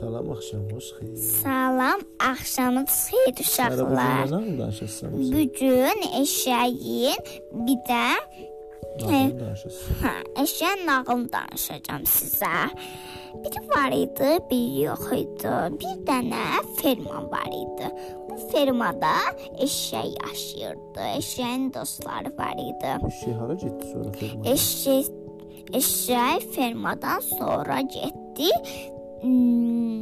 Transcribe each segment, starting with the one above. Salam axşamınız xeyir. Salam, axşamınız xeyir Hələ bu gün uşaqlar. nə zaman danışırsınız? Bu gün eşəyin bir də Nağıl danışırsınız. hə, eşəyin nağılını danışacağım sizə. Biri var idi, biri yox idi. Bir dənə ferma var idi. Bu fermada eşək yaşayırdı. Eşəyin dostları var idi. Şey hara getdi sonra firma? Eşək eşək fermadan sonra getdi. Hmm,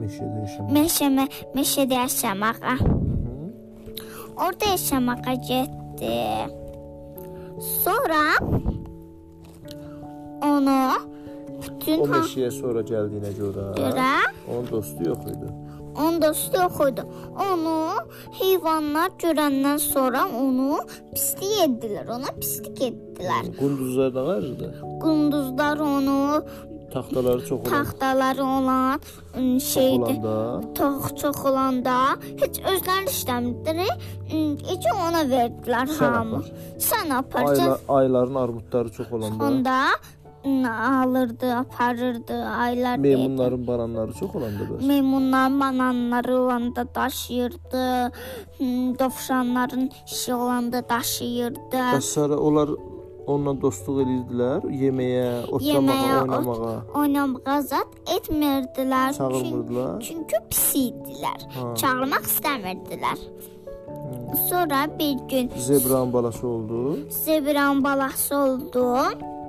Meşədə yaşamaq. Meşəmə, meşədə yaşamağa. Orda yaşamağa getdi. Sonra onu bütün O ha- meşəyə sonra gəldiyinə görə görə onun dostu yox idi. onun dostu yox idi. Onu heyvanlar görəndən sonra onu pislik etdilər. Ona pislik etdilər. Qunduzlar da vardı. Qunduzlar onu Taxtaları çox olan. taxtaları olan ım, şeydi. Olanda Tox çox olanda heç özləri işləmirdi. Hmm, İki ona verdilər Sən hamı. apar. Sən ayla, aparacaq. ayların armudları çox olanda. Onda ım, alırdı, aparırdı, aylar deyirdi. Meymunların baranları çox olanda bəs. Meymunların bananları olanda daşıyırdı. ım, Dovşanların işi olanda daşıyırdı. Bəs sonra onlar onunla dostluq edirdilər, yeməyə, otlamağa, Yeməyə, ot- oynamağa Oynamağa zad etmirdilər. Çünki çağırmırdılar. Çünki pis idilər. Ha. Hmm. Çağırmaq istəmirdilər. Sonra bir gün Zebranın balası oldu. Zebran balası oldu.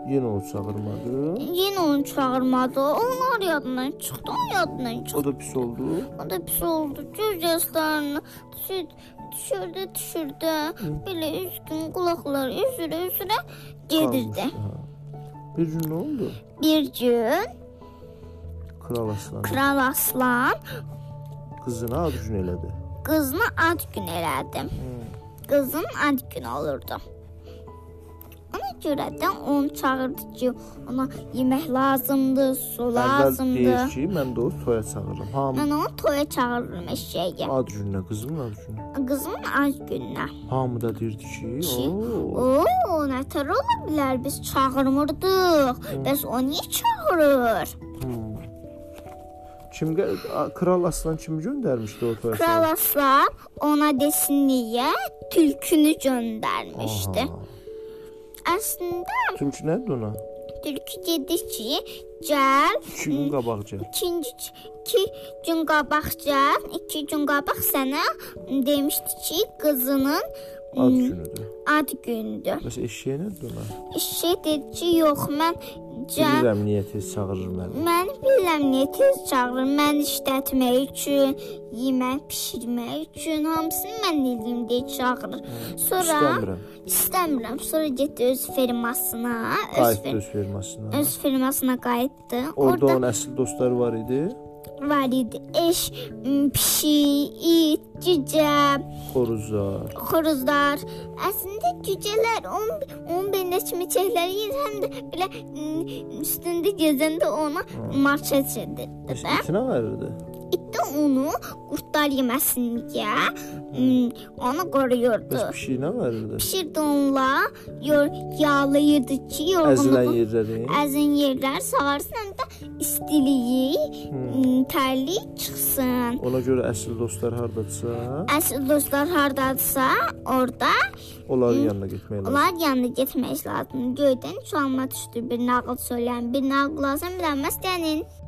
Yenə o çağırmadı. Yenə onu çağırmadı. Onlar yadından çıxdı, onun yadından çıxdı. O da pis oldu. O da pis oldu. Göz yaşlarını düşürdü, düşürdü, düşürdü. Belə üç gün qulaqları üzürə üzürə gedirdi. Qalmışdı, ha. Bir gün nə oldu? Bir gün Kral aslanı Kral Aslan qızına ad gün elədi. qızını ad gün elədi. Qızın ad günü olurdu. Ona görə də onu çağırdı ki, ona yemək lazımdı, su Əvvəl lazımdı. deyir ki, mən də o toya çağırıram. Hamı Mən onu toya çağırırım eşeğe. ad gününə, qızımın ad gününə. Kızımın az gününe. Hamı da deyirdi ki, Ki, o Oo, ne tür olabilir? Biz çağırmırdık. Biz o niye çağırır? kim gə- a- kral aslan kimi göndərmişdi o toya? Kral Aslan ona desin diye tülkünü göndermişti. Aha. Aslında Çünki nədir ona? tülkü dedi ki gel 2 gün qabaqca. ikinci iki gün qabaqca iki gün qabaq sənə demişdi ki qızının Ad günüdür. ad gündür. Bəs eşeyə nədir ona? Şey dedi ki yox mən gel Bilirəm niyə tez çağırır məni. Mən bilirəm niyə tez çağırır. Mən işlətmək üçün, yemək bişirmək üçün hamısını mən eləyim deyə çağırır. Sonra İstəmirəm. İstəmirəm. Sonra getdi öz firmasına, öz Qayıtdı fir- öz fermasına. öz firmasına qayıtdı. Orada Orda onun əsl dostları var idi. var idi eş, m, pişik, it, cücə, Xoruzlar. xoruzlar. Əslində cücələr onun onun belə çimçəkləri yeyir, həm də belə m, üstündə gəzəndə ona marşet edirdi də. İtinə verirdi. İtdə onu qurtlar yeməsin deyə ım, onu qoruyurdu. Bəs pişiyinə verirdi. Pişirdi onunla, yor, yağlayırdı ki, Əzilən yorğunluğu yerləri. əzin yerlər sağarsın, həm də istiliyi, ım, tərliyi çıxsın. Ona görə əsl dostlar hardadsa, Əsl dostlar hardadırsa, orada onların yanına getmək lazım. onlar yanına getmək lazımdır. Göydən çalma düşdü, bir nağıl söyləyən, bir nağıl lazım, bilməz dənin.